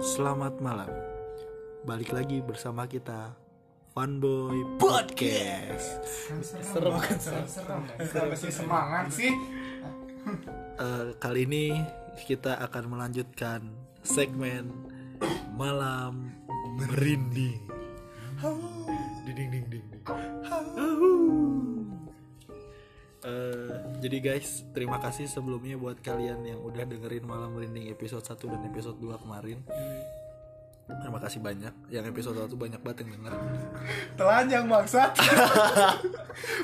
Selamat malam. Balik lagi bersama kita Fanboy Podcast. serem kan serem serem serem sih semangat sih Eh, kali ini kita akan melanjutkan segmen Malam Merinding. ding ding ding ding Eh, jadi guys, terima kasih sebelumnya buat kalian yang udah dengerin Malam Merinding episode 1 dan episode 2 kemarin. Terima kasih banyak. Yang episode 1 banyak banget yang denger. telanjang maksat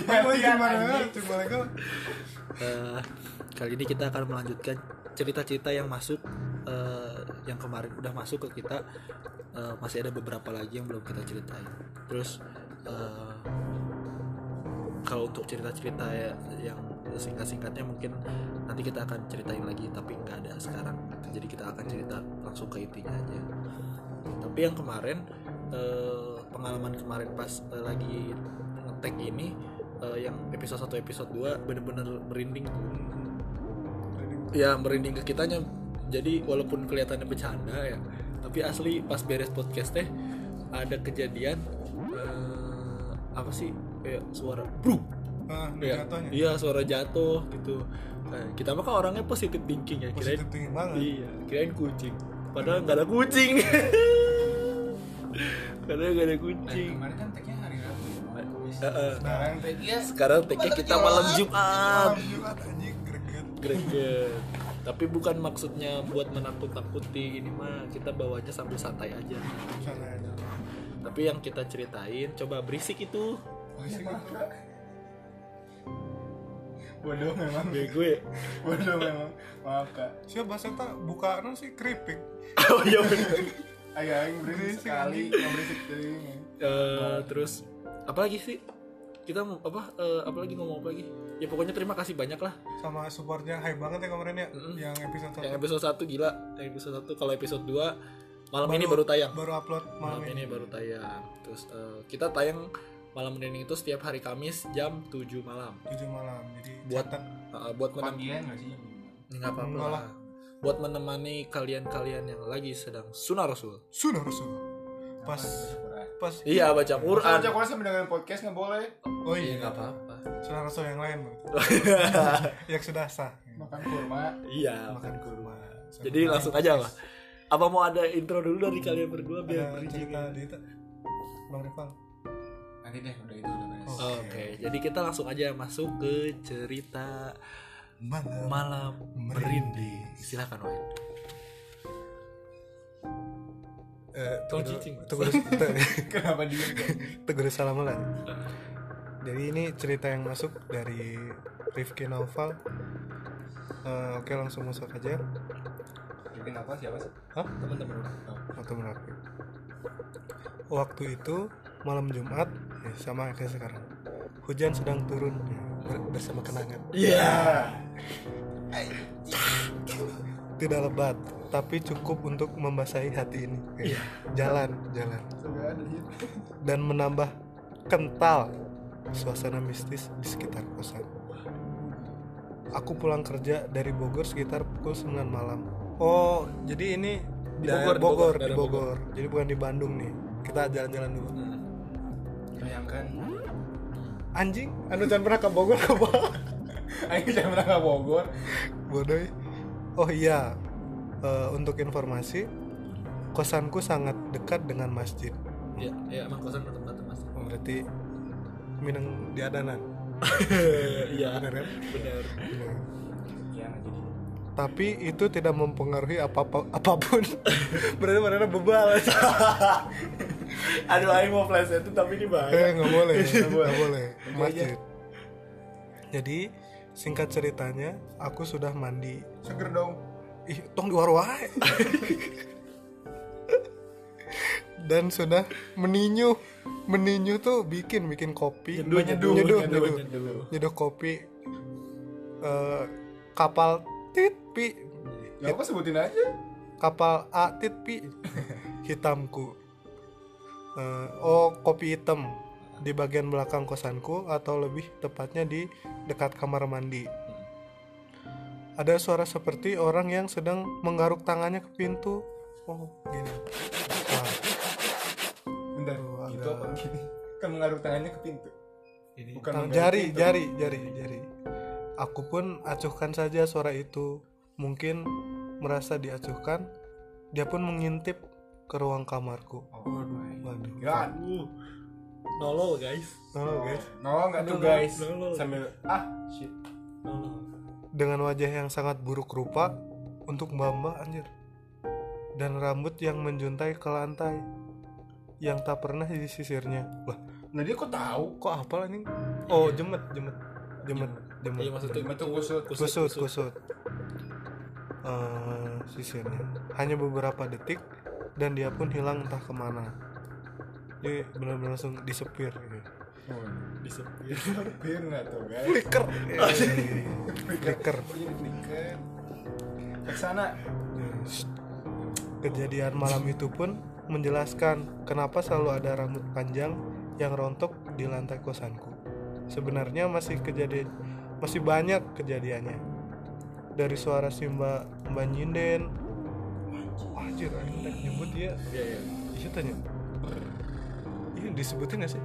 Gimana, gimana, Eh, kali ini kita akan melanjutkan cerita-cerita yang masuk eh, yang kemarin udah masuk ke kita Eh, masih ada beberapa lagi yang belum kita ceritain terus eh, kalau untuk cerita-cerita ya- yang singkat-singkatnya mungkin nanti kita akan ceritain lagi tapi nggak ada sekarang jadi kita akan cerita langsung ke intinya aja tapi yang kemarin eh, pengalaman kemarin pas eh, lagi ngetek ini eh, yang episode 1 episode 2 bener-bener merinding ya merinding ke kitanya jadi walaupun kelihatannya bercanda ya tapi asli pas beres podcast teh ada kejadian eh, apa sih kayak suara bruk nah, ya jatuhnya iya suara jatuh gitu Eh, kita mah kan orangnya positif thinking ya kirain positif tinggi banget Iya, kirain kucing. Padahal nggak ada kucing. Padahal nggak ada kucing. kemarin kan tagnya hari rabu ya malam Kamis. Heeh. sekarang teh iya Sekarang tag-nya kita malam Jumat. malam jumat anjing greget Greget. Tapi bukan maksudnya buat menakut-takuti ini mah kita bawanya sambil santai aja. sana aja Tapi yang kita ceritain coba berisik itu. Masih gitu. bodoh memang Bego ya. bodoh memang maaf kak siapa bahasa tak buka non sih keripik Oh iya bener. ayo yang berisik Berisik, sekali anjing. yang berisik dari ini Eh, terus apa lagi sih? Kita mau apa eh, apa lagi ngomong apa lagi? Ya pokoknya terima kasih banyak lah sama supportnya high banget ya kemarin ya Mm-mm. yang episode Yang satu episode 1 gila, yang episode 1 kalau episode 2 malam ini baru tayang. Ya, baru upload Malam ini baru tayang. Terus eh, kita tayang malam ini itu setiap hari Kamis jam 7 malam. 7 malam jadi Buat- catat. Eh, buat menem- panggilan nggak sih nggak apa-apa Enggak lah. Buat menemani kalian-kalian yang lagi sedang sunnah Rasul. sudah rasul pas pas Iya, baca Quran. Baca Quran sambil dengan podcast nggak boleh oh Iya, iya nggak apa-apa. sudah rasul yang lain berarti. yang sudah sah makan kurma Iya. makan kurma Sama Jadi main langsung aja, Mas. PS. Apa mau ada intro dulu dari kalian berdua biar ada bridging cerita ya? di itu bang Rival nanti deh udah itu udah beres Oh. Oke, jadi kita langsung aja masuk ke cerita malam malam merinding. merinding. Silakan, Wahid. Eh, Tolong tunggu dulu- cicing, Mas. tunggu dulu- tunggu- kenapa dia tunggu dulu salam lah jadi ini cerita yang masuk dari Rifki Naufal Eh, oke langsung masuk aja bikin apa siapa sih Hah? Teman-teman. waktu menurutku. waktu itu malam Jumat ya, sama kayak sekarang hujan sedang turun ya, ber- bersama kenangan Iya. tidak lebat tapi cukup untuk membasahi hati ini Iya. Ya, jalan jalan sudah ada dia dan menambah kental suasana mistis di sekitar kosan aku pulang kerja dari Bogor sekitar pukul 9 malam oh jadi ini Di daerah Bogor, di Bogor, Bogor di daerah Bogor jadi bukan di Bandung nih kita jalan-jalan dulu bayangkan anjing anu jangan pernah ke Bogor ke Bogor ayo jangan pernah ke Bogor bodoh ya. oh iya Eh, untuk informasi kosanku sangat dekat dengan masjid Iya, ya, emang kosan tempat mas. Oh, berarti Minang di Adanan Iya, bener kan benar. Bener. iya nggak jadi tapi itu tidak mempengaruhi apa apa apapun berarti mana bebal Aduh, aing mau flash itu tapi ini bahaya. eh nggak boleh Iya, nggak boleh masjid jadi singkat ceritanya aku sudah mandi seger dong ih tong di warung wae. dan sudah meninju meninju tuh bikin bikin kopi Nyeduh, nyeduh, nyeduh, nyeduh, nyeduh. nyeduh. Nyeduh kopi eh, kapal titpi ya apa sebutin aja kapal A titpi hitamku Eh, oh kopi hitam di bagian belakang kosanku atau lebih tepatnya di dekat kamar mandi ada suara seperti orang yang sedang menggaruk tangannya ke pintu oh gini Nah, Bentar, Tuh, gitu agak- apa gini? Kan mengaruh tangannya ke pintu. Ini Bukan Tangan mengaruh jari, pintu. jari, jari, jari. Aku pun acuhkan saja suara itu. Mungkin merasa diacuhkan, dia pun mengintip ke ruang kamarku. Oh Waduh, my waduh. God. Uh, nolol guys. Halo, guys. Nolong nggak tuh Nolol, guys? nolol. Sambil ah shit. Nolol. Dengan wajah yang sangat buruk rupa untuk Mbak anjir. Dan rambut yang menjuntai ke lantai yang tak pernah disisirnya. Lah, Nah dia kok tahu? kok apal ini? Oh, jemet, jemet. Jemet, jemet. Iya maksudnya Itu kusut. kusut kusut Eh, sisirnya hanya beberapa detik dan dia pun hilang entah kemana dia benar-benar langsung disepir gitu. Disepir. Hampir nggak tuh guys? flicker iya, flicker Oh, jadi flicker. Ke sana. Shh. kejadian malam itu pun menjelaskan kenapa selalu ada rambut panjang yang rontok di lantai kosanku sebenarnya masih kejadian masih banyak kejadiannya dari suara si mbak mbak nyinden Wah, anjir anjing tak nyebut dia Iya iya. Iya tanya. Ini disebutin gak sih?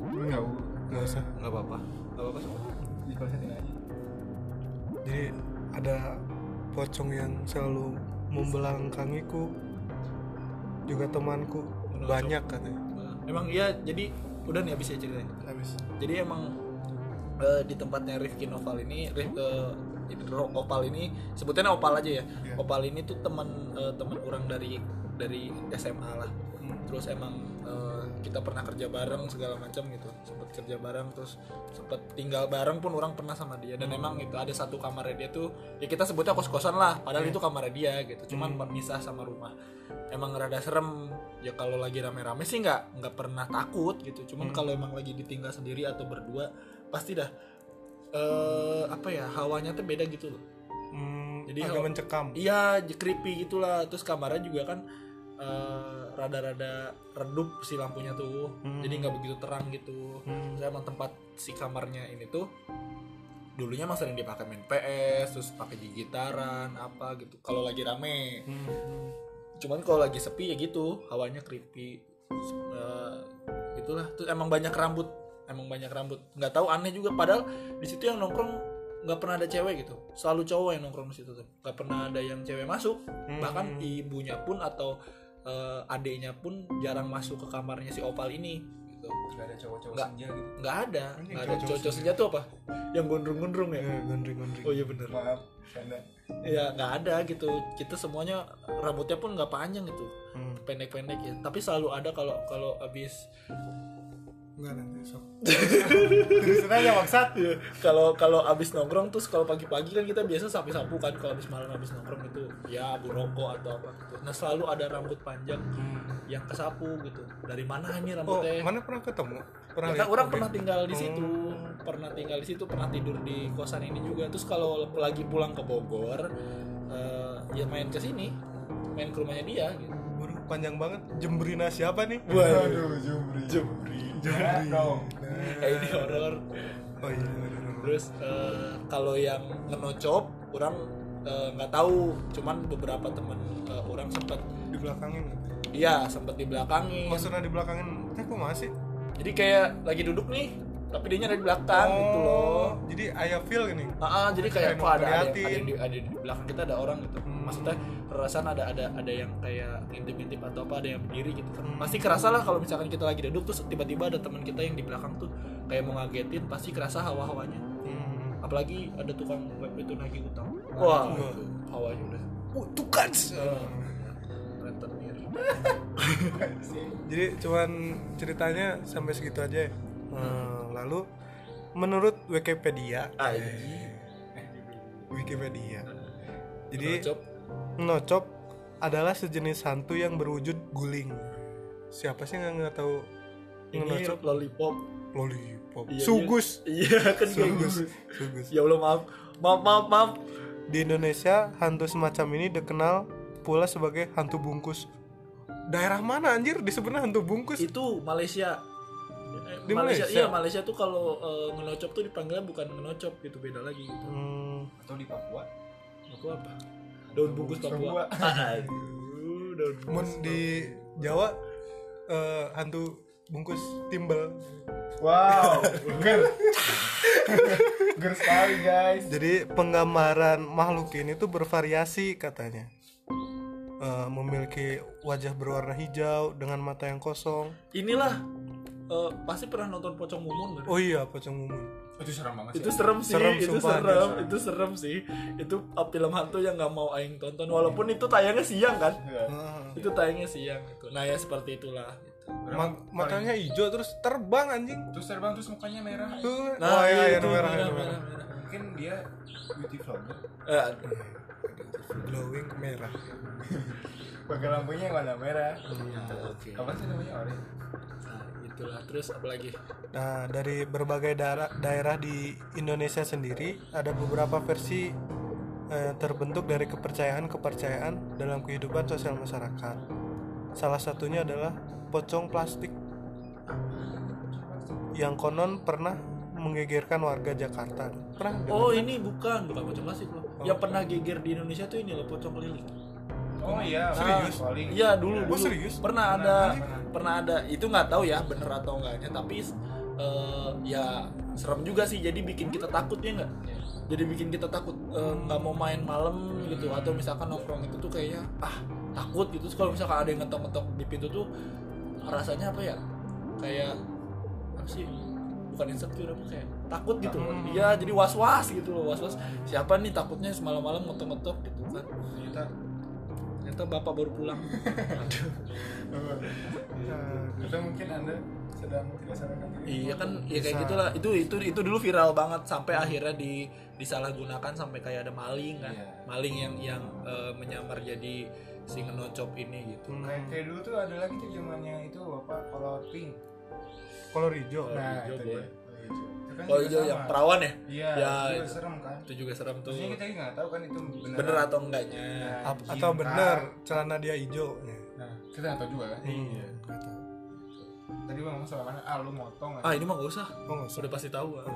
Enggak. Gak usah. Enggak apa-apa. Enggak apa-apa semua. Dipelesetin aja. Jadi ada pocong yang selalu membelangkangiku. Juga temanku Menusuk. banyak katanya. Nah, Emang iya jadi udah nih habis ya ceritanya. Habis. Jadi emang eh, di tempatnya Rifki Noval ini Rif, eh, ini Ro- Opal ini sebutannya Opal aja ya. Iya. Opal ini tuh teman eh, teman orang dari dari SMA lah. terus emang eh, kita pernah kerja bareng segala macam gitu sempet kerja bareng terus sempet tinggal bareng pun orang pernah sama dia dan emang itu ada satu kamarnya dia tuh ya kita sebutnya kos kosan lah padahal itu kamarnya dia gitu cuman misah sama rumah emang rada serem ya kalau lagi rame rame sih nggak nggak pernah takut gitu cuman kalau emang lagi ditinggal sendiri atau berdua pasti dah eh apa ya hawanya tuh beda gitu loh Hmm, Jadi agak kalau- mencekam. Iya, j- creepy gitulah. Terus kamarnya juga kan eh, rada-rada redup si lampunya tuh, Hmm. jadi nggak begitu terang gitu. Hmm. Terus emang tempat si kamarnya ini tuh dulunya emang sering dipakai main PS, terus pakai gitaran apa gitu. Kalau lagi rame, Hmm. cuman kalau lagi sepi ya gitu, hawanya creepy. Terus, eh, gitulah. Terus emang banyak rambut, emang banyak rambut. Nggak tahu aneh juga. Padahal di situ yang nongkrong nggak pernah ada cewek gitu, selalu cowok yang nongkrong di situ tuh. Nggak pernah ada yang cewek masuk Hmm. bahkan ibunya pun atau eh, adeknya pun jarang masuk ke kamarnya si Opal ini gitu Gak ada cowok-cowok Nggak. senja gitu. nggak ada Ini nggak ada cowok-cowok cowok senja sendiri. tuh apa yang gondrong-gondrong ya Ya, gondri-gondri. oh iya bener Maaf. Karena ya nggak ada gitu kita semuanya rambutnya pun nggak panjang gitu Hmm. pendek-pendek ya tapi selalu ada kalau kalau abis Enggak nanti sok. terusin aja maksat. iya. kalau kalau abis nongkrong terus kalau pagi-pagi kan kita biasa sapu-sapu kan kalau abis malam abis nongkrong itu ya abu rokok atau apa gitu nah selalu ada rambut panjang yang kesapu gitu dari mana ini Hmm. Oh, rambutnya mana pernah ketemu? Pernah Ya, kan lihat? orang Oke. pernah tinggal di Oh. situ, pernah tinggal di situ, pernah tidur di kosan ini juga. Terus kalau lagi pulang ke Bogor, eh, ya main ke sini, main ke rumahnya dia gitu. Waduh, panjang banget. Jembrina siapa nih? Waduh, jumri. Jumri. Jangan dong. Kayak ini horor. Oh iya, bener, bener. Terus eh, kalau yang ngenocop, orang eh, nggak tahu, cuman beberapa teman eh, orang sempat di belakangin. iya sempat dibelakangin. Oh, sudah di belakangin. Teh kok masih? Jadi kayak lagi duduk nih, tapi dia nyari di belakang gitu loh. Jadi ayah feel gini. Ah, ah, jadi kayak Oh. Kayak kok ada ada, ngeliatin. ada yang di, ada di belakang kita ada orang gitu. Hmm. Maksudnya perasaan ada ada ada yang kayak ngintip-ngintip atau apa ada yang berdiri gitu kan. Hmm. Pasti kerasa lah kalau misalkan kita lagi duduk terus tiba-tiba ada teman kita yang di belakang tuh kayak mau ngagetin pasti kerasa hawa-hawanya. Hmm. Apalagi ada tukang web itu nagih utang. Wah, Wah. itu hawanya udah Eh, Oh, tuh kan. rentenir. Jadi cuman ceritanya sampai segitu aja. ya? Hmm, Lalu menurut Wikipedia, Anjing. Wikipedia. Jadi Cocok. nocop adalah sejenis hantu yang berwujud guling. Siapa sih yang nggak tahu ini nocop? lollipop. Lollipop. Iya, Sugus. Iya kan kayak Sugus. gitu. Sugus. Ya Allah maaf. Maaf maaf maaf. Di Indonesia, hantu semacam ini dikenal pula sebagai hantu bungkus. Daerah mana anjir disebutnya hantu bungkus? itu Malaysia Eh, Di Malaysia, Malaysia? iya Malaysia tuh kalau eh, ngelocop tuh dipanggilnya bukan ngelocop gitu beda lagi gitu Hmm, Atau di Papua? aku apa daun bungkus Papua. Papua. Aduh, daun Mun bungkus. di Jawa eh, hantu bungkus timbel. Wow, ger. ger sekali guys. Jadi penggambaran makhluk ini tuh bervariasi katanya. Eh, memiliki wajah berwarna hijau dengan mata yang kosong. Inilah eh, pasti pernah nonton Pocong Mumun kan? Oh iya, pocong mumun. Oh, Itu serem banget itu serem sih, Serem, itu sumpah, serem, serem. itu serem sih. Itu eh, film hantu yang nggak mau aing tonton walaupun itu tayangnya siang kan? Ah. Itu tayangnya siang gitu. Nah, ya seperti itulah gitu. Ma- matanya hijau terus terbang anjing. terus terbang terus mukanya merah. Tuh. Nah, oh iya, iya, itu, merah, iya, merah, merah. merah, merah. Mungkin dia beauty vlogger. Eh, Glowing merah. Pakai lampunya yang warna merah. ya, oke. Apa sih namanya orange? Nah, itulah. Terus apa lagi? Nah, dari berbagai daerah daerah di Indonesia sendiri ada beberapa versi eh, terbentuk dari kepercayaan-kepercayaan dalam kehidupan sosial masyarakat. Salah satunya adalah pocong plastik yang konon pernah menggegerkan warga Jakarta. Pernah? dengar? Oh, ini bukan, bukan pocong plastik loh. Oh. Yang pernah geger di Indonesia tuh ini loh, pocong keliling. Oh iya, Serius? paling. Iya dulu, dulu. Oh, serius? pernah Pernah, ada pernah. pernah ada itu nggak tahu ya bener atau enggaknya tapi eh, ya serem juga sih jadi bikin kita takut ya nggak jadi bikin kita takut eh, nggak mau main malam gitu atau misalkan nongkrong itu tuh kayaknya ah takut gitu Terus kalau misalkan ada yang ngetok-ngetok di pintu tuh rasanya apa ya kayak apa sih bukan insecure apa kayak takut gitu iya jadi was was gitu loh was was siapa nih takutnya semalam malam ngetok-ngetok gitu kan Ternyata ternyata bapak baru pulang aduh Eh, Atau mungkin Anda sedang tidak sadarkan diri. Iya kan, ya kayak gitulah. Itu itu itu dulu viral banget sampai Hmm. akhirnya di disalahgunakan sampai kayak ada maling kan. Iya. Maling yang yang eh, menyamar jadi si ngenocop ini gitu. Kayak, kayak dulu tuh ada lagi tuh zamannya itu apa kolor pink. Kolor hijau. Kolor Nah, hijau, itu boy. dia. Kolor hijau. Itu kan Kalau juga hijau Oh, sama. yang perawan ya, Iya, Ya, itu juga itu. serem kan. itu juga serem tuh. Maksudnya kita juga nggak tahu kan itu beneran. Bener atau enggaknya. Nah, Ap- atau jin benar celana dia hijau. Ya. kah. Nah, kita nggak tahu juga kan. Tadi bang ngomong soal mana? Ah, lu motong. Ah ini mah gak usah, Oh, nggak usah. sudah pasti tahu. ah.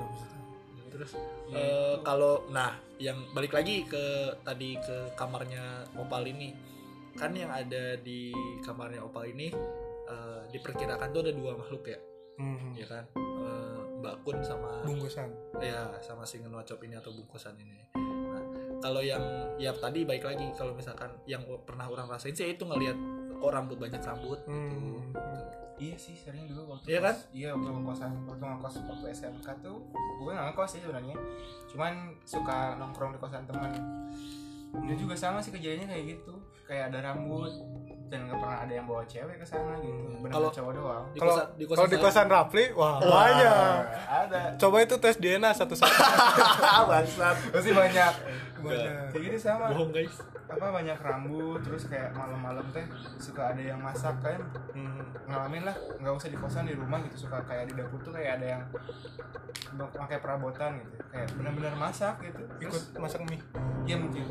Terus Ya, eh, kalau nah yang balik lagi ke tadi ke kamarnya Opal ini kan yang ada di kamarnya Opal ini eh, diperkirakan tuh ada dua makhluk ya. Mhm. ya kan Eh, Mbak Kun sama Bungkusan. ya sama si ngenocop ini atau bungkusan ini nah, kalau yang ya tadi baik lagi kalau misalkan yang o- pernah orang rasain sih itu ngelihat kok rambut banyak rambut gitu Hmm. Iya sih sering dulu waktu Iya kos- kan? Iya waktu kosan waktu ngekos waktu SMK tuh gue nggak ngekos sih sebenarnya. Cuman suka nongkrong di kosan teman. Dia juga sama sih kejadiannya kayak gitu. Kayak ada rambut dan nggak pernah ada yang bawa cewek ke sana gitu. Benar Hmm. Kalau- cowok doang. di Kalau kosan di kosan kalau di kosan Rafli, wah banyak. Ah, ada. Coba itu tes DNA satu-satu. bangsat Pasti banyak. Banyak. Kayak gitu sama. bohong guys Apa banyak rambut terus kayak malam-malam teh suka ada yang masak kan ngalamin lah nggak usah di kosan di rumah gitu suka kayak di dapur tuh kayak ada yang pakai perabotan gitu kayak benar-benar masak gitu Ikut Terus, masak mie. ya mungkin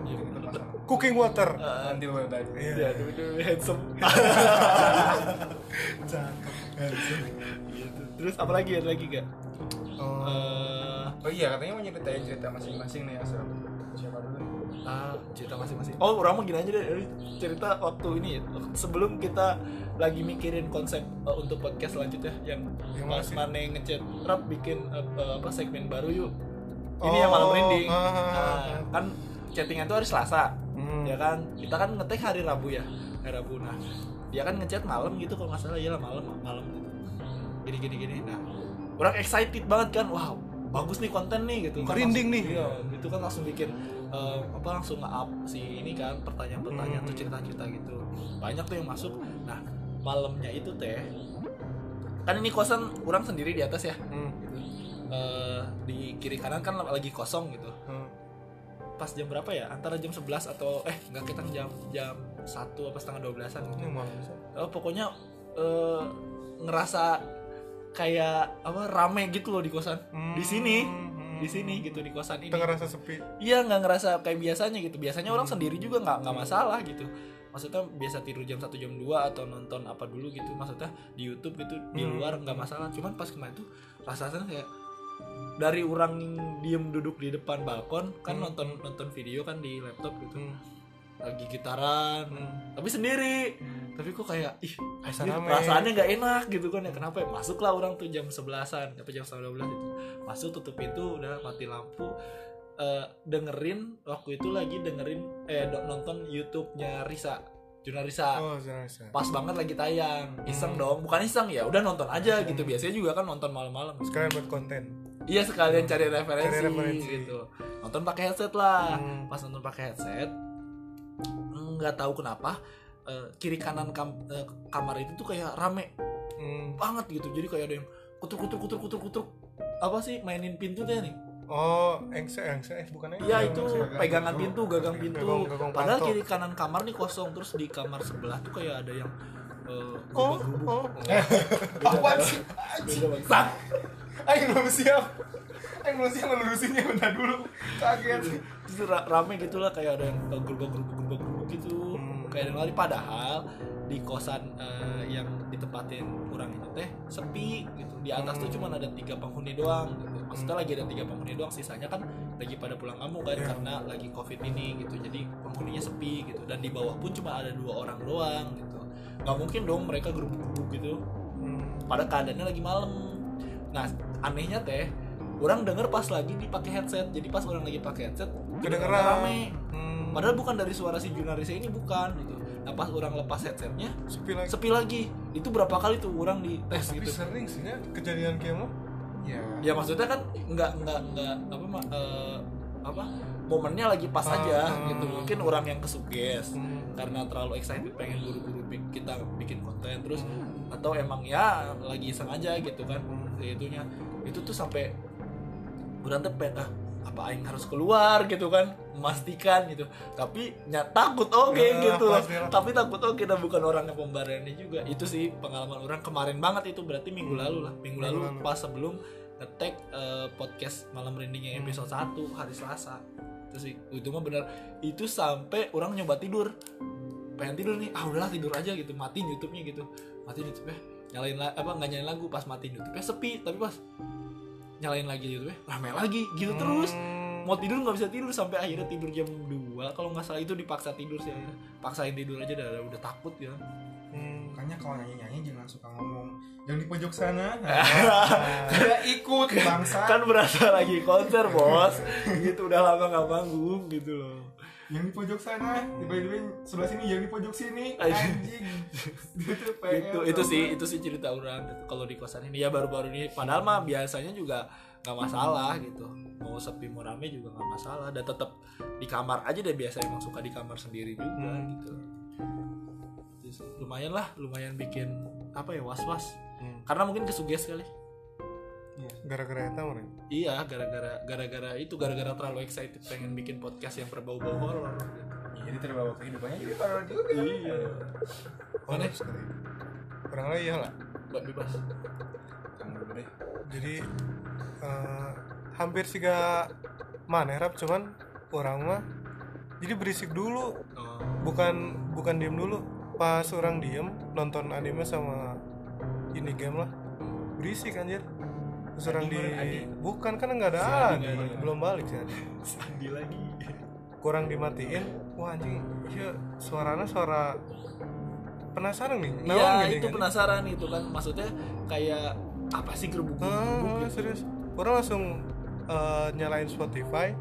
Iya, Ikut bener-bener. masak. Cooking water. Ah, nanti gue tadi Iya, ya itu itu handsome Gitu. terus apa lagi ada lagi gak Oh, Eh, oh iya katanya mau nyeritain cerita masing-masing nih yang serem siapa dulu Ah, cerita masing-masing. Oh, orang mah gini aja deh. eh, Cerita waktu ini sebelum kita lagi mikirin konsep eh, untuk podcast selanjutnya yang Yang Mas masih- Mane ngechat Rap bikin eh, eh, apa segmen baru yuk. Ini Oh, yang malam rinding. ah, ah, Nah, ah. kan chattingan tuh hari Selasa. Hmm. Ya kan? Kita kan ngetek hari Rabu ya. Hari Rabu. Nah, dia kan ngechat malam gitu kalau nggak salah ya malam malam gitu. Gini gini gini. Nah, orang excited banget kan. Wow, bagus nih konten nih gitu. Kan Merinding langsung- nih. Iya, itu kan langsung bikin eh, apa langsung nge-up si ini kan Hmm. pertanyaan-pertanyaan tuh cerita-cerita gitu. Banyak tuh yang masuk. Nah, malamnya itu teh kan ini kosan orang sendiri di atas ya. Hmm, Eh, di kiri kanan kan lagi kosong gitu. hmm. Pas jam berapa ya? Antara jam 11 atau eh nggak kita jam jam 1 apa setengah 12-an gitu. Ini malam bisa. Eh, pokoknya eh, ngerasa kayak apa rame gitu loh di kosan. Hmm, Di sini, hmm. di sini gitu di kosan ini. Kita ngerasa sepi. Iya nggak ngerasa kayak biasanya gitu. Biasanya orang Hmm. sendiri juga nggak nggak masalah gitu. Maksudnya biasa tidur jam 1 jam 2 atau nonton apa dulu gitu. Maksudnya di YouTube gitu di Hmm. luar nggak masalah. Cuman pas kemarin tuh rasanya kayak dari orang diem duduk di depan balkon kan Hmm. nonton nonton video kan di laptop gitu Hmm. lagi gitaran Hmm. tapi sendiri tapi kok kayak ih Rasa anjir, rame. Iya, perasaannya nggak enak gitu kan ya kenapa ya masuklah orang tuh jam sebelasan apa jam setengah 12 itu masuk tutup pintu udah mati lampu Eh, dengerin waktu itu lagi dengerin eh do- nonton YouTube-nya Risa Juna Risa Oh, serius. pas banget lagi tayang iseng Hmm. dong bukan iseng ya udah nonton aja gitu Hmm. biasanya juga kan nonton malam-malam Sekalian buat konten. iya sekalian cari referensi, Cari referensi. gitu nonton pakai headset lah Hmm. pas nonton pakai headset nggak tahu kenapa eh, kiri kanan kam- eh, kamar itu tuh kayak rame Hmm. banget gitu jadi kayak ada yang kutur kutur kutur kutur kutur apa sih mainin pintu deh nih Oh, engse engse eh bukan engse. iya itu gagang pegangan pintu pintu. gagang Gagang- pintu gagang padahal patok. kiri kanan kamar nih kosong terus di kamar sebelah tuh kayak ada yang eh, Nah, Oh, oh. Apaan sih? beda banget. Aing belum siap. Aing belum siap ngelurusinnya bentar dulu. Kaget. Terus ra- rame gitu lah kayak ada yang gerubuk-gerubuk-gerubuk gitu Hmm. kayak ada yang lari padahal di kosan eh, yang ditempatin kurang itu teh sepi gitu di atas tuh Hmm. cuma ada tiga penghuni doang gitu. maksudnya lagi ada tiga penghuni doang sisanya kan lagi pada pulang kampung kan Iya. karena lagi covid ini gitu jadi penghuninya sepi gitu dan di bawah pun cuma ada dua orang doang gitu nggak mungkin dong mereka gerubuk-gerubuk gitu Hmm. pada keadaannya lagi malam nah anehnya teh orang denger pas lagi dipakai headset jadi pas orang lagi pakai headset Kedengeran. rame Hmm. padahal bukan dari suara si Junarisa ini bukan gitu nah pas orang lepas headsetnya sepi lagi. sepi lagi itu berapa kali tuh orang Eh, dites tapi gitu sering sih ya kejadian kayak lo. Ya. Iya. ya maksudnya kan nggak nggak nggak apa ma- eh, apa momennya lagi pas Ah, aja ah. gitu mungkin orang yang kesuges Hmm. karena terlalu excited pengen buru-buru bi- kita bikin konten terus Hmm. atau emang ya lagi sengaja gitu kan itunya itu tuh sampai kurang tepet ah apa aing harus keluar gitu kan memastikan gitu tapi nya takut oke Ya, gitu pastilah. tapi takut oke dan bukan orang yang pemberani juga itu sih pengalaman orang kemarin banget itu berarti minggu lalu lah minggu lalu Hmm. Minggu lalu. pas sebelum ngetek eh, podcast malam rinding Hmm. yang episode 1 hari Selasa itu sih itu mah bener itu sampai orang nyoba tidur pengen tidur nih ah udahlah tidur aja gitu matiin YouTube-nya gitu matiin YouTube-nya nyalain la- apa nggak nyalain lagu pas matiin YouTube-nya sepi tapi pas nyalain lagi YouTube-nya rame lagi gitu terus Hmm. mau tidur nggak bisa tidur sampai akhirnya tidur jam 2 kalau nggak salah itu dipaksa tidur sih akhirnya. paksain tidur aja udah udah takut ya Hmm. Makanya kalau nyanyi-nyanyi jangan suka ngomong yang di pojok sana. Ah. Tidak ikut bangsa. kan berasa lagi konser bos gitu udah lama nggak manggung gitu loh Yang di pojok sana, tiba-tiba sebelah sini yang di pojok sini. Anjing. Anjing. itu itu itu sih itu sih cerita orang gitu. kalau di kosan ini ya baru-baru ini padahal mah biasanya juga nggak masalah gitu mau sepi mau rame juga nggak masalah dan tetap di kamar aja deh biasa emang suka di kamar sendiri juga Hmm. gitu Itu sih. lumayan lah lumayan bikin apa ya was was Hmm. karena mungkin kesuges kali Gara-gara eta ya? Oh, orang. iya gara-gara gara-gara itu gara-gara terlalu excited pengen bikin podcast yang berbau-bau horor Jadi terbawa kehidupannya jadi parah juga. iya Mana? Horor sekali. Orang lain iya lah. Mbak bebas Kamu dulu deh. Jadi eh, hampir siga manerap cuman orang mah jadi berisik dulu oh. bukan bukan diem dulu pas orang diem nonton anime sama ini game lah berisik anjir terus orang Adi di mana, Adi? bukan kan nggak ada Si Adi Adi. nggak ada. belum balik sih Adi. Sandi lagi kurang dimatiin wah anjing iya suaranya suara penasaran nih naon Iya gini itu kan? penasaran itu kan maksudnya kayak apa sih gerubuk gerubuk Ah, gitu. serius orang langsung eh, nyalain Spotify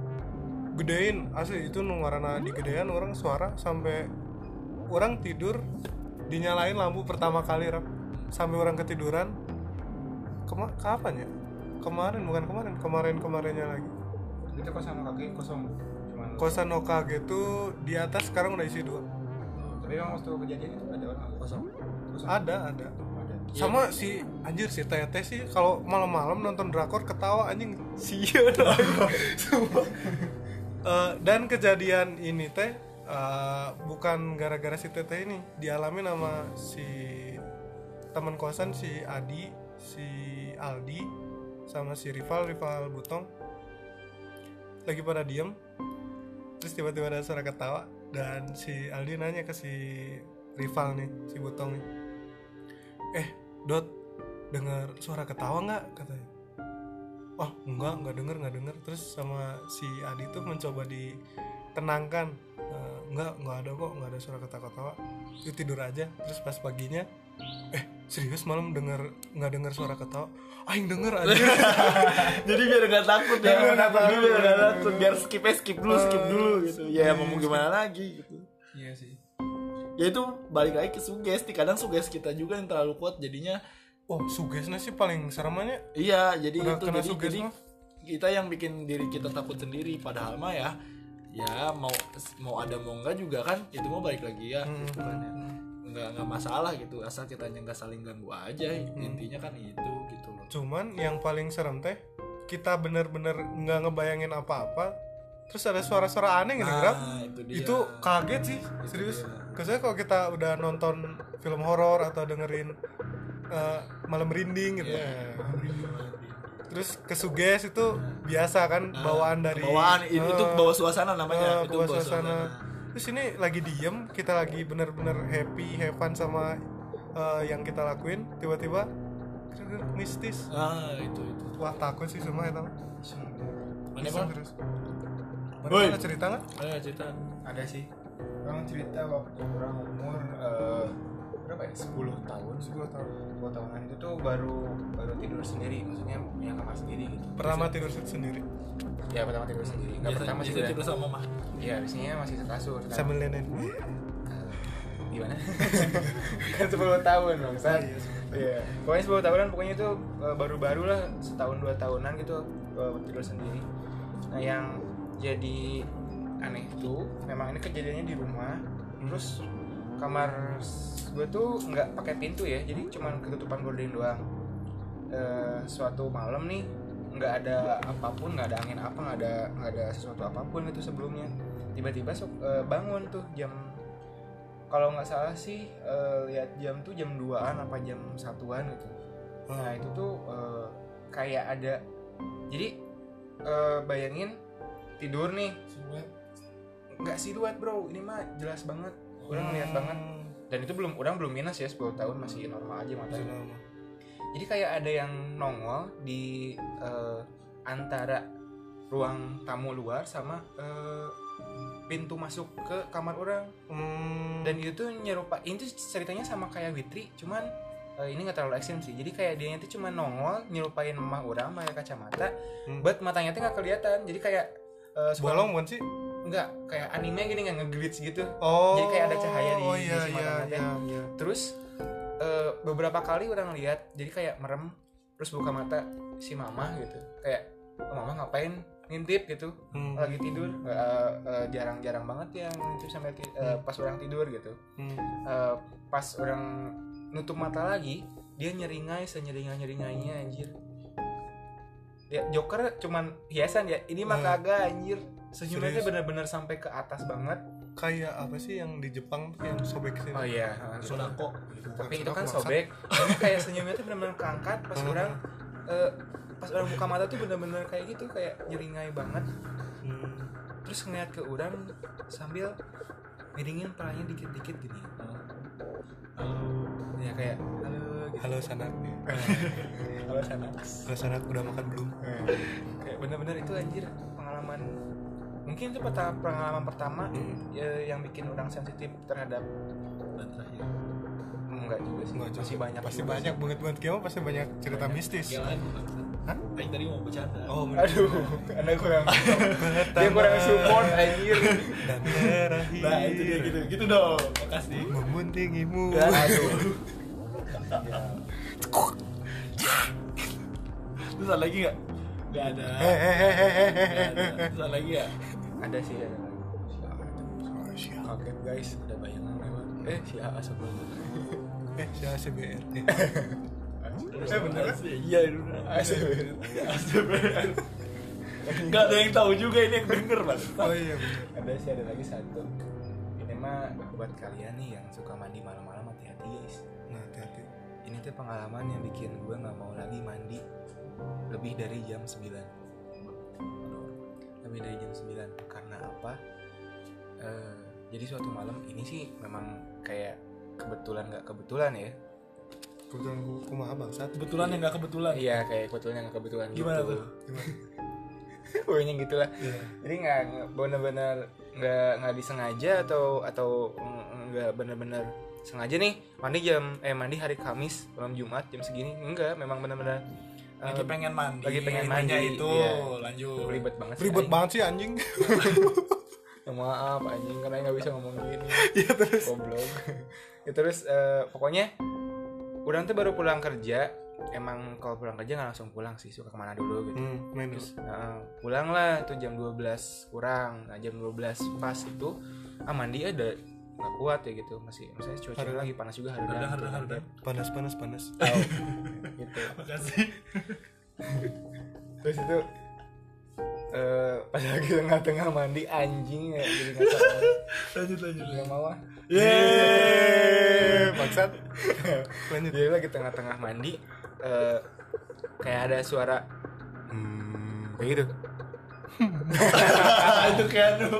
gedein asli itu nu warna digedean orang suara sampai orang tidur dinyalain lampu pertama kali rap sampai orang ketiduran Kema kapan ya kemarin bukan kemarin kemarin kemarinnya lagi Itu kosan kaki kosong. Cuman kosan Okage itu di atas sekarang udah isi dua Tapi emang waktu kejadian itu ada orang kosong. Kosong. ada ada Ada. Iya. sama si anjir si teteh sih kalau malam-malam nonton drakor ketawa anjing Sia lah. Sumpah. Eh, dan kejadian ini teh eh, bukan gara-gara si teteh ini dialami nama si teman kosan si Adi si Aldi sama si rival rival Butong lagi pada diem terus tiba-tiba ada suara ketawa dan si Aldi nanya ke si rival nih si Butong nih eh Dot dengar suara ketawa nggak katanya oh enggak enggak denger enggak denger terus sama si Adi tuh mencoba ditenangkan Eh, enggak enggak ada kok enggak ada suara ketawa-ketawa itu tidur aja terus pas paginya eh serius malam denger enggak denger suara ketawa aing denger aja jadi biar nggak takut ya Biar nggak takut. Ah. Jadi biar nggak takut biar skip skip dulu skip dulu gitu ya mau gimana lagi gitu iya sih ya itu balik lagi ke sugesti kadang sugesti kita juga yang terlalu kuat jadinya oh sugesnya sih paling seramanya iya jadi Udah itu kena jadi, sugesti jadi mah. kita yang bikin diri kita takut sendiri padahal mah ya ya mau mau ada mau enggak juga kan itu mau balik lagi ya Hmm. gitu kan ya. nggak nggak masalah gitu asal kita nggak saling ganggu aja Hmm. intinya kan itu gitu loh cuman yang paling serem teh kita bener-bener nggak ngebayangin apa-apa terus ada suara-suara aneh gitu Grab. Nah, itu dia itu kaget sih Itu serius dia. Biasanya kalau kita udah nonton film horor atau dengerin eh, malam rinding Iya. gitu terus kesuges itu Iya. biasa kan bawaan dari bawaan itu, itu eh, bawa suasana Ah, eh, namanya itu bawa suasana terus ini lagi diem kita lagi bener-bener happy have fun sama eh, yang kita lakuin tiba-tiba mistis ah itu itu wah takut sih semua itu mana bang terus Woi. Mana cerita nggak? Ayo cerita ada sih orang cerita waktu orang umur eh, berapa ya 10 tahun 10 tahun. 10 tahunan itu tuh baru baru tidur sendiri maksudnya punya kamar sendiri gitu Pertama tidur sendiri ya pertama tidur sendiri nggak biasa pertama sih biasa ya? udah. tidur sama mama iya biasanya masih sekasur kan. sambil nenek. gimana Eh, kan 10 tahun bang San. Iya, iya pokoknya 10 tahunan pokoknya itu eh, baru-baru lah setahun dua tahunan gitu eh, tidur sendiri nah yang jadi aneh tuh memang ini kejadiannya di rumah terus kamar s- gue tuh nggak pakai pintu ya jadi cuman ketutupan gorden doang Eh, suatu malam nih nggak ada apapun nggak ada angin apa nggak ada nggak ada sesuatu apapun itu sebelumnya tiba-tiba so- eh, bangun tuh jam kalau nggak salah sih eh, lihat jam tuh jam 2-an apa jam satuan gitu nah itu tuh eh, kayak ada jadi eh, bayangin tidur nih nggak siluet bro ini mah jelas banget orang lihat banget dan itu belum orang belum minus ya 10 tahun masih normal aja matanya jadi kayak ada yang nongol di eh, antara ruang tamu luar sama eh, pintu masuk ke kamar orang Hmm. dan itu tuh nyerupa ini tuh ceritanya sama kayak Witri cuman eh, ini nggak terlalu ekstrim sih jadi kayak dia tuh cuma nongol nyerupain emak orang pakai kacamata Hmm. buat matanya tuh nggak kelihatan jadi kayak eh, suara- bolong bukan sih? nggak kayak anime gini nggak ngeglitch gitu Oh. Jadi kayak ada cahaya di- Oh di iya si iya mata iya. iya. terus eh, beberapa kali orang lihat jadi kayak merem terus buka mata si mama gitu kayak "Oh, mama ngapain ngintip gitu Hmm. lagi tidur Nggak, eh, eh, jarang-jarang banget yang ngintip sampai ti- eh, pas orang tidur gitu Hmm. Eh, pas orang nutup mata lagi dia nyeringai senyeringai nyeringainya Hmm. anjir ya Joker cuman hiasan ya ini mah Nah. kagak anjir senyumnya tuh Serius? bener-bener sampai ke atas banget Kayak apa sih yang di Jepang tuh yang sobek sini? oh iya sodako gitu. tapi itu Maksud kan aku, sobek Ini kayak senyumnya tuh bener-bener keangkat pas Hmm. orang eh, pas orang buka mata tuh bener-bener kayak gitu kayak nyeringai banget Hmm. terus ngeliat ke orang sambil miringin palanya dikit-dikit gini ya kayak halo gitu Halo sanak. halo sana Halo sanak udah makan belum? kayak bener-bener itu anjir pengalaman mungkin itu peta- pengalaman pertama Hmm. ya, yang bikin orang sensitif terhadap dan terakhir enggak juga sih Nggak, masih cukup. banyak Ya, Pasti juga banyak banget banget kamu pasti banyak cerita mistis. Ya lain bangsat. Hah? Aing tadi mau bercanda. sih. Oh, bener. aduh anda kurang dia kurang support anjir dan iya, terakhir. Nah, itu dia gitu. Gitu dong. Makasih. Memuntingimu. aduh Terus ada lagi enggak? Enggak ada. Eh, Nggak ada. Hehehehehehe. Terus ada lagi ya? ada sih ada lagi. Si A ada. kaget guys ada bayangan lewat eh si A sebelumnya Eh, saya CBRT. Eh kan? bener sih. Iya, itu bener. ASMR. ASMR. Enggak ada yang tahu juga ini yang denger, Bang. Oh iya bener. ada sih ada lagi satu ini mah buat kalian nih yang suka mandi malam-malam hati-hati guys Nah, hati-hati. ini tuh pengalaman yang bikin gue nggak mau lagi mandi lebih dari jam 9 lebih dari jam 9 karena apa Eh, jadi suatu malam ini sih memang kayak kebetulan nggak kebetulan ya kebetulan kumaha bangsat kebetulan yang nggak kebetulan iya kayak kebetulan nggak kebetulan gimana gitu. tuh gimana pokoknya gitulah Iya. jadi nggak nggak- bener-bener nggak nggak disengaja atau atau nggak bener-bener sengaja nih mandi jam eh mandi hari Kamis malam Jumat jam segini enggak memang bener-bener eh, lagi pengen mandi lagi pengen intinya mandi, itu iya. lanjut ribet banget sih, ribet anjing. banget sih anjing Ya, maaf anjing karena nggak bisa ngomong gini ya terus goblok ya terus eh, pokoknya udah nanti baru pulang kerja emang kalau pulang kerja nggak langsung pulang sih suka kemana dulu gitu hmm, minus terus eh, pulang lah itu jam 12 kurang nah jam 12 pas itu ah mandi ada nggak kuat ya gitu masih misalnya cuaca Harudang. lagi panas juga Harudang, harudang harudang, harudang. panas panas panas Tahu. gitu makasih terus itu eh, pas lagi tengah-tengah mandi anjing ya jadi nggak sabar. lanjut lanjut nggak mau ah Yeay, bangsat lanjut Jadi lagi tengah-tengah mandi eh, kayak ada suara hmm, kayak gitu. Ah, itu Keanu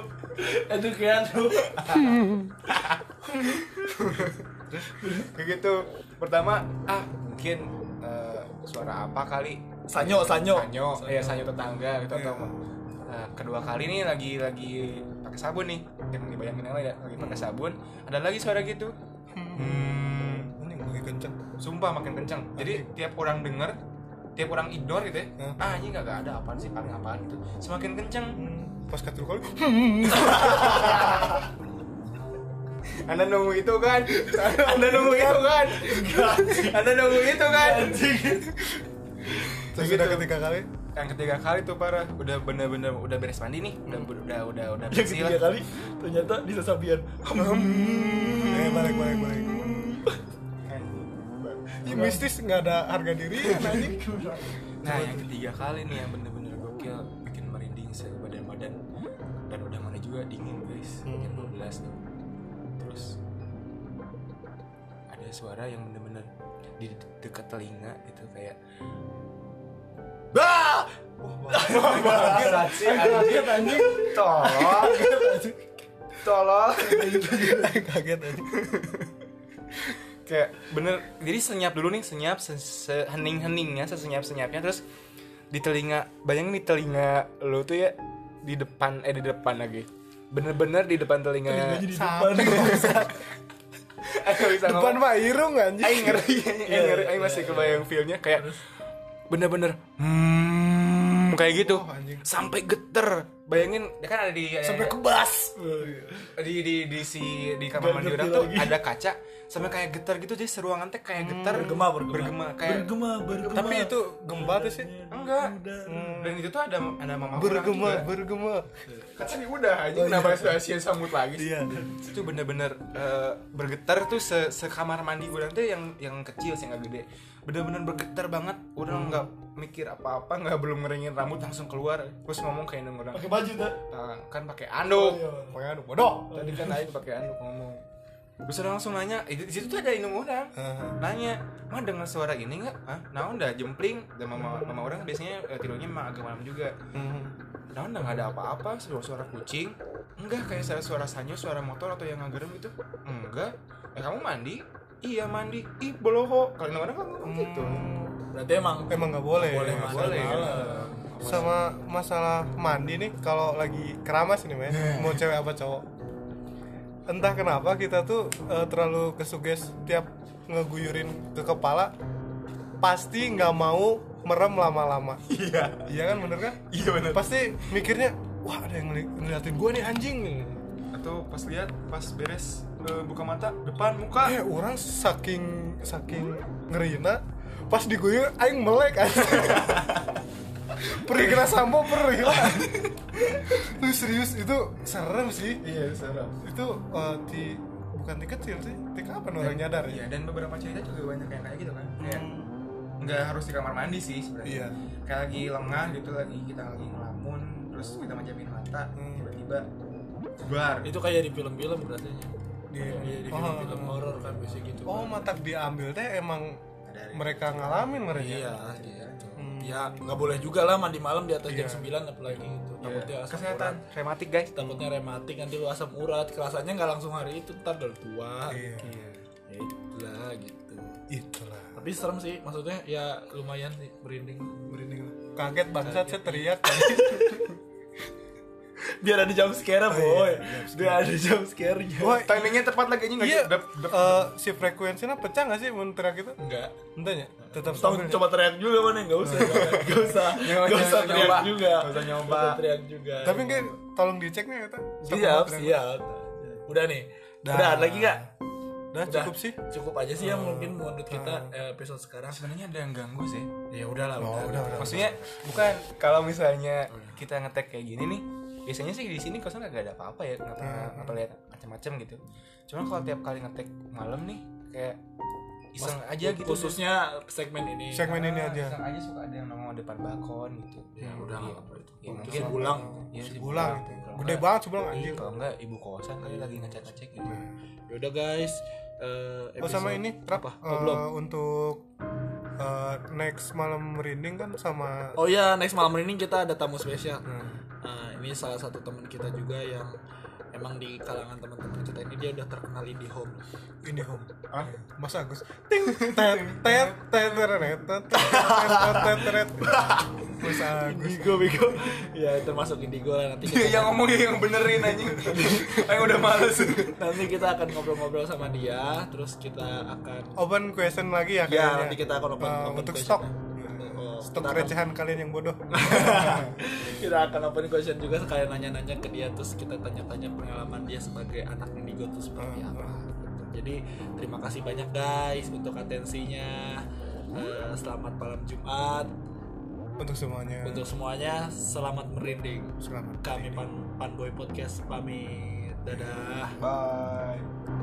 itu Keanu Kayak gitu. Pertama, ah mungkin eh, suara apa kali? Sanyo Sanyo Iya. Sanyo, ya sanyo tetangga gitu atau Nah, kedua kali nih lagi lagi pakai sabun nih. Yang dibayangin lah ya, lagi Hmm. pakai sabun, ada lagi suara gitu. Hmm. ini gue kenceng Sumpah makin kenceng. Jadi tiap orang denger, tiap orang ignore gitu ya. Hmm. Ah, ini nggak nggak ada apaan sih, paling apaan gitu. Semakin kenceng. Hmm, pas katul kali Anda nunggu itu kan? Anda nunggu itu kan? Anda nunggu itu kan? gitu. terus udah ketiga kali Yang ketiga kali tuh parah, udah bener-bener udah beres mandi nih, udah Hmm. udah udah udah yang bersih ketiga lah. kali ternyata di sasabian eh balik balik balik Ini mistis nggak ada harga diri anjing Nah yang ketiga kali nih yang bener-bener gokil bikin merinding sebadan badan dan udah mana juga dingin guys jam 12 tuh. Terus ada suara yang bener-bener di dekat telinga gitu kayak Bah! bangsat sih anjing anjing Tolong, tolong. kaget anjing kayak bener jadi senyap dulu nih senyap se- sehening heningnya sesenyap senyapnya terus di telinga bayangin di telinga lo tuh ya di depan eh di depan lagi bener-bener di depan telinga jadi di depan aku bisa depan ngomong Pak Irung anjing Aing ngeri Aing ngeri Aing masih kebayang feelnya kayak bener-bener hmm, kayak gitu Wah, anjing. sampai geter bayangin ya kan ada di sampai eh, kebas di di di si di kamar mandi orang tuh ada kaca sampai kayak getar gitu jadi seruangan teh kayak getar bergema bergema bergema kayak bergema bergema tapi itu gempa tuh sih enggak Hmm, dan itu tuh ada ada mama orang bergema juga. bergema Oh, katanya udah aja kenapa Asia sambut lagi sih iya itu bener-bener eh, bergetar tuh se sekamar mandi orang tuh yang yang kecil sih nggak gede bener-bener bergetar banget Hmm. orang nggak mikir apa-apa nggak belum ngeringin rambut langsung keluar terus ngomong kayak neng orang pakai baju tuh "Tang, kan pakai anduk pokoknya aduh bodoh tadi kan Aing pakai anduk ngomong terus orang langsung nanya eh, di situ tuh ada indung orang nanya mah dengar suara ini nggak Hah? naon dah jempling dan mama mama orang biasanya eh, tidurnya emang agak malam juga naon dah nggak ada apa-apa suara suara kucing enggak kayak suara suara sanyo suara motor atau yang ngagerem gitu enggak eh kamu mandi iya mandi ih boloho kalau indung orang kan ngomong gitu berarti emang emang nggak boleh Boleh, Nggak Mas. boleh kan? malam. sama masalah mandi nih kalau lagi keramas nih men mau cewek apa cowok entah kenapa kita tuh eh, terlalu kesuges tiap ngeguyurin ke kepala pasti nggak mau merem lama-lama iya iya kan bener kan iya bener pasti mikirnya wah ada yang ngeli- ngeliatin gua nih anjing atau pas lihat pas beres eh, buka mata depan muka eh orang saking saking ngerina pas diguyur aing melek anjing. perih kena sampo perih lah Lu serius itu serem sih iya serem itu eh, ti bukan ti kecil sih ti kapan orang nyadar Iya, ya dan beberapa cerita juga banyak yang kayak gitu kan. Kayak nggak harus di kamar mandi sih sebenarnya. Iya. Kayak lagi lengah gitu lagi kita lagi ngelamun terus kita menjamin mata Hmm. tiba-tiba bar. itu kayak di film-film berarti Di- Iya, di Oh. film-film horor kan biasanya gitu oh matak diambil teh emang mereka ngalamin mereka Iya, gitu. Ya nggak boleh juga lah mandi malam di atas jam 9 apalagi itu. Takutnya asam Iya. Kesehatan urat. rematik guys. takutnya rematik nanti lu asam urat, kerasanya nggak langsung hari itu, ntar udah tua. Iya. Ya itulah gitu. itulah tapi serem sih maksudnya ya lumayan sih merinding merinding lah. kaget bangsat saya teriak biar ada jump scare boy Oh, iya, biar ada jump scare nya Woi, timingnya tepat lagi aja nggak iya dap dap eh, si frekuensinya pecah nggak sih mun teriak itu enggak entahnya Tahu tetap stabil coba teriak juga mana enggak usah. Enggak usah. Nyoba, Enggak usah nyoba. teriak juga. Nggak usah nyoba. Nggak usah teriak juga. tapi kayak tolong diceknya ya, kata siap, siap. Udah nih. Dah. Udah, ada lagi enggak? udah cukup sih Cukup aja sih ya mungkin menurut kita eh, episode sekarang. Nah, sebenarnya ada yang ganggu sih Ya udahlah, oh udah udah maksudnya bukan kalau misalnya kita ngetek kayak gini nih biasanya sih di sini kosan gak ada apa-apa ya nggak pernah nggak pernah lihat macam-macam gitu cuman kalau tiap kali ngetek malam nih kayak iseng aja gitu Khususnya segmen ini. segmen ini Ah, aja iseng aja suka ada yang nongol depan balkon gitu Ya udah Iya. nggak apa-apa itu. Ya, Itu mungkin- sebulang. Iya, si sih, bulang itu Kalau gede nggak- banget sebulang Iya, anjing kalau enggak ibu kosan kali lagi ngecek-ngecek gitu Ya udah guys. Eh, oh sama episode- ini rap Apa? eh, Oh, belum. untuk eh, next malam merinding kan sama Oh ya, next malam ini kita ada tamu spesial. Hmm. Nah, ini salah satu teman kita juga yang emang di kalangan teman-teman kita ini dia udah terkenal di home. ini home Hah? Mas Agus ting tet tet tet teret, tet, tet, tet, tet, teret. Mas Agus Indigo bego. ya termasuk Indigo lah nanti kita Iya, yang ngomong yang benerin anjing Ayo udah males nanti kita akan ngobrol-ngobrol sama dia, terus kita akan open question lagi ya ya kayaknya nanti kita akan open, Eh, open untuk question stok ya. Oh, stok kita akan- recehan kalian yang bodoh kita akan open question juga sekalian nanya-nanya ke dia terus kita tanya-tanya pengalaman dia sebagai anak Indigo itu seperti Ah, apa. Jadi terima kasih banyak guys untuk atensinya. Eh, selamat malam Jumat untuk semuanya untuk semuanya. Selamat merinding. selamat Kami Pan Panboy Podcast pamit. Dadah. Bye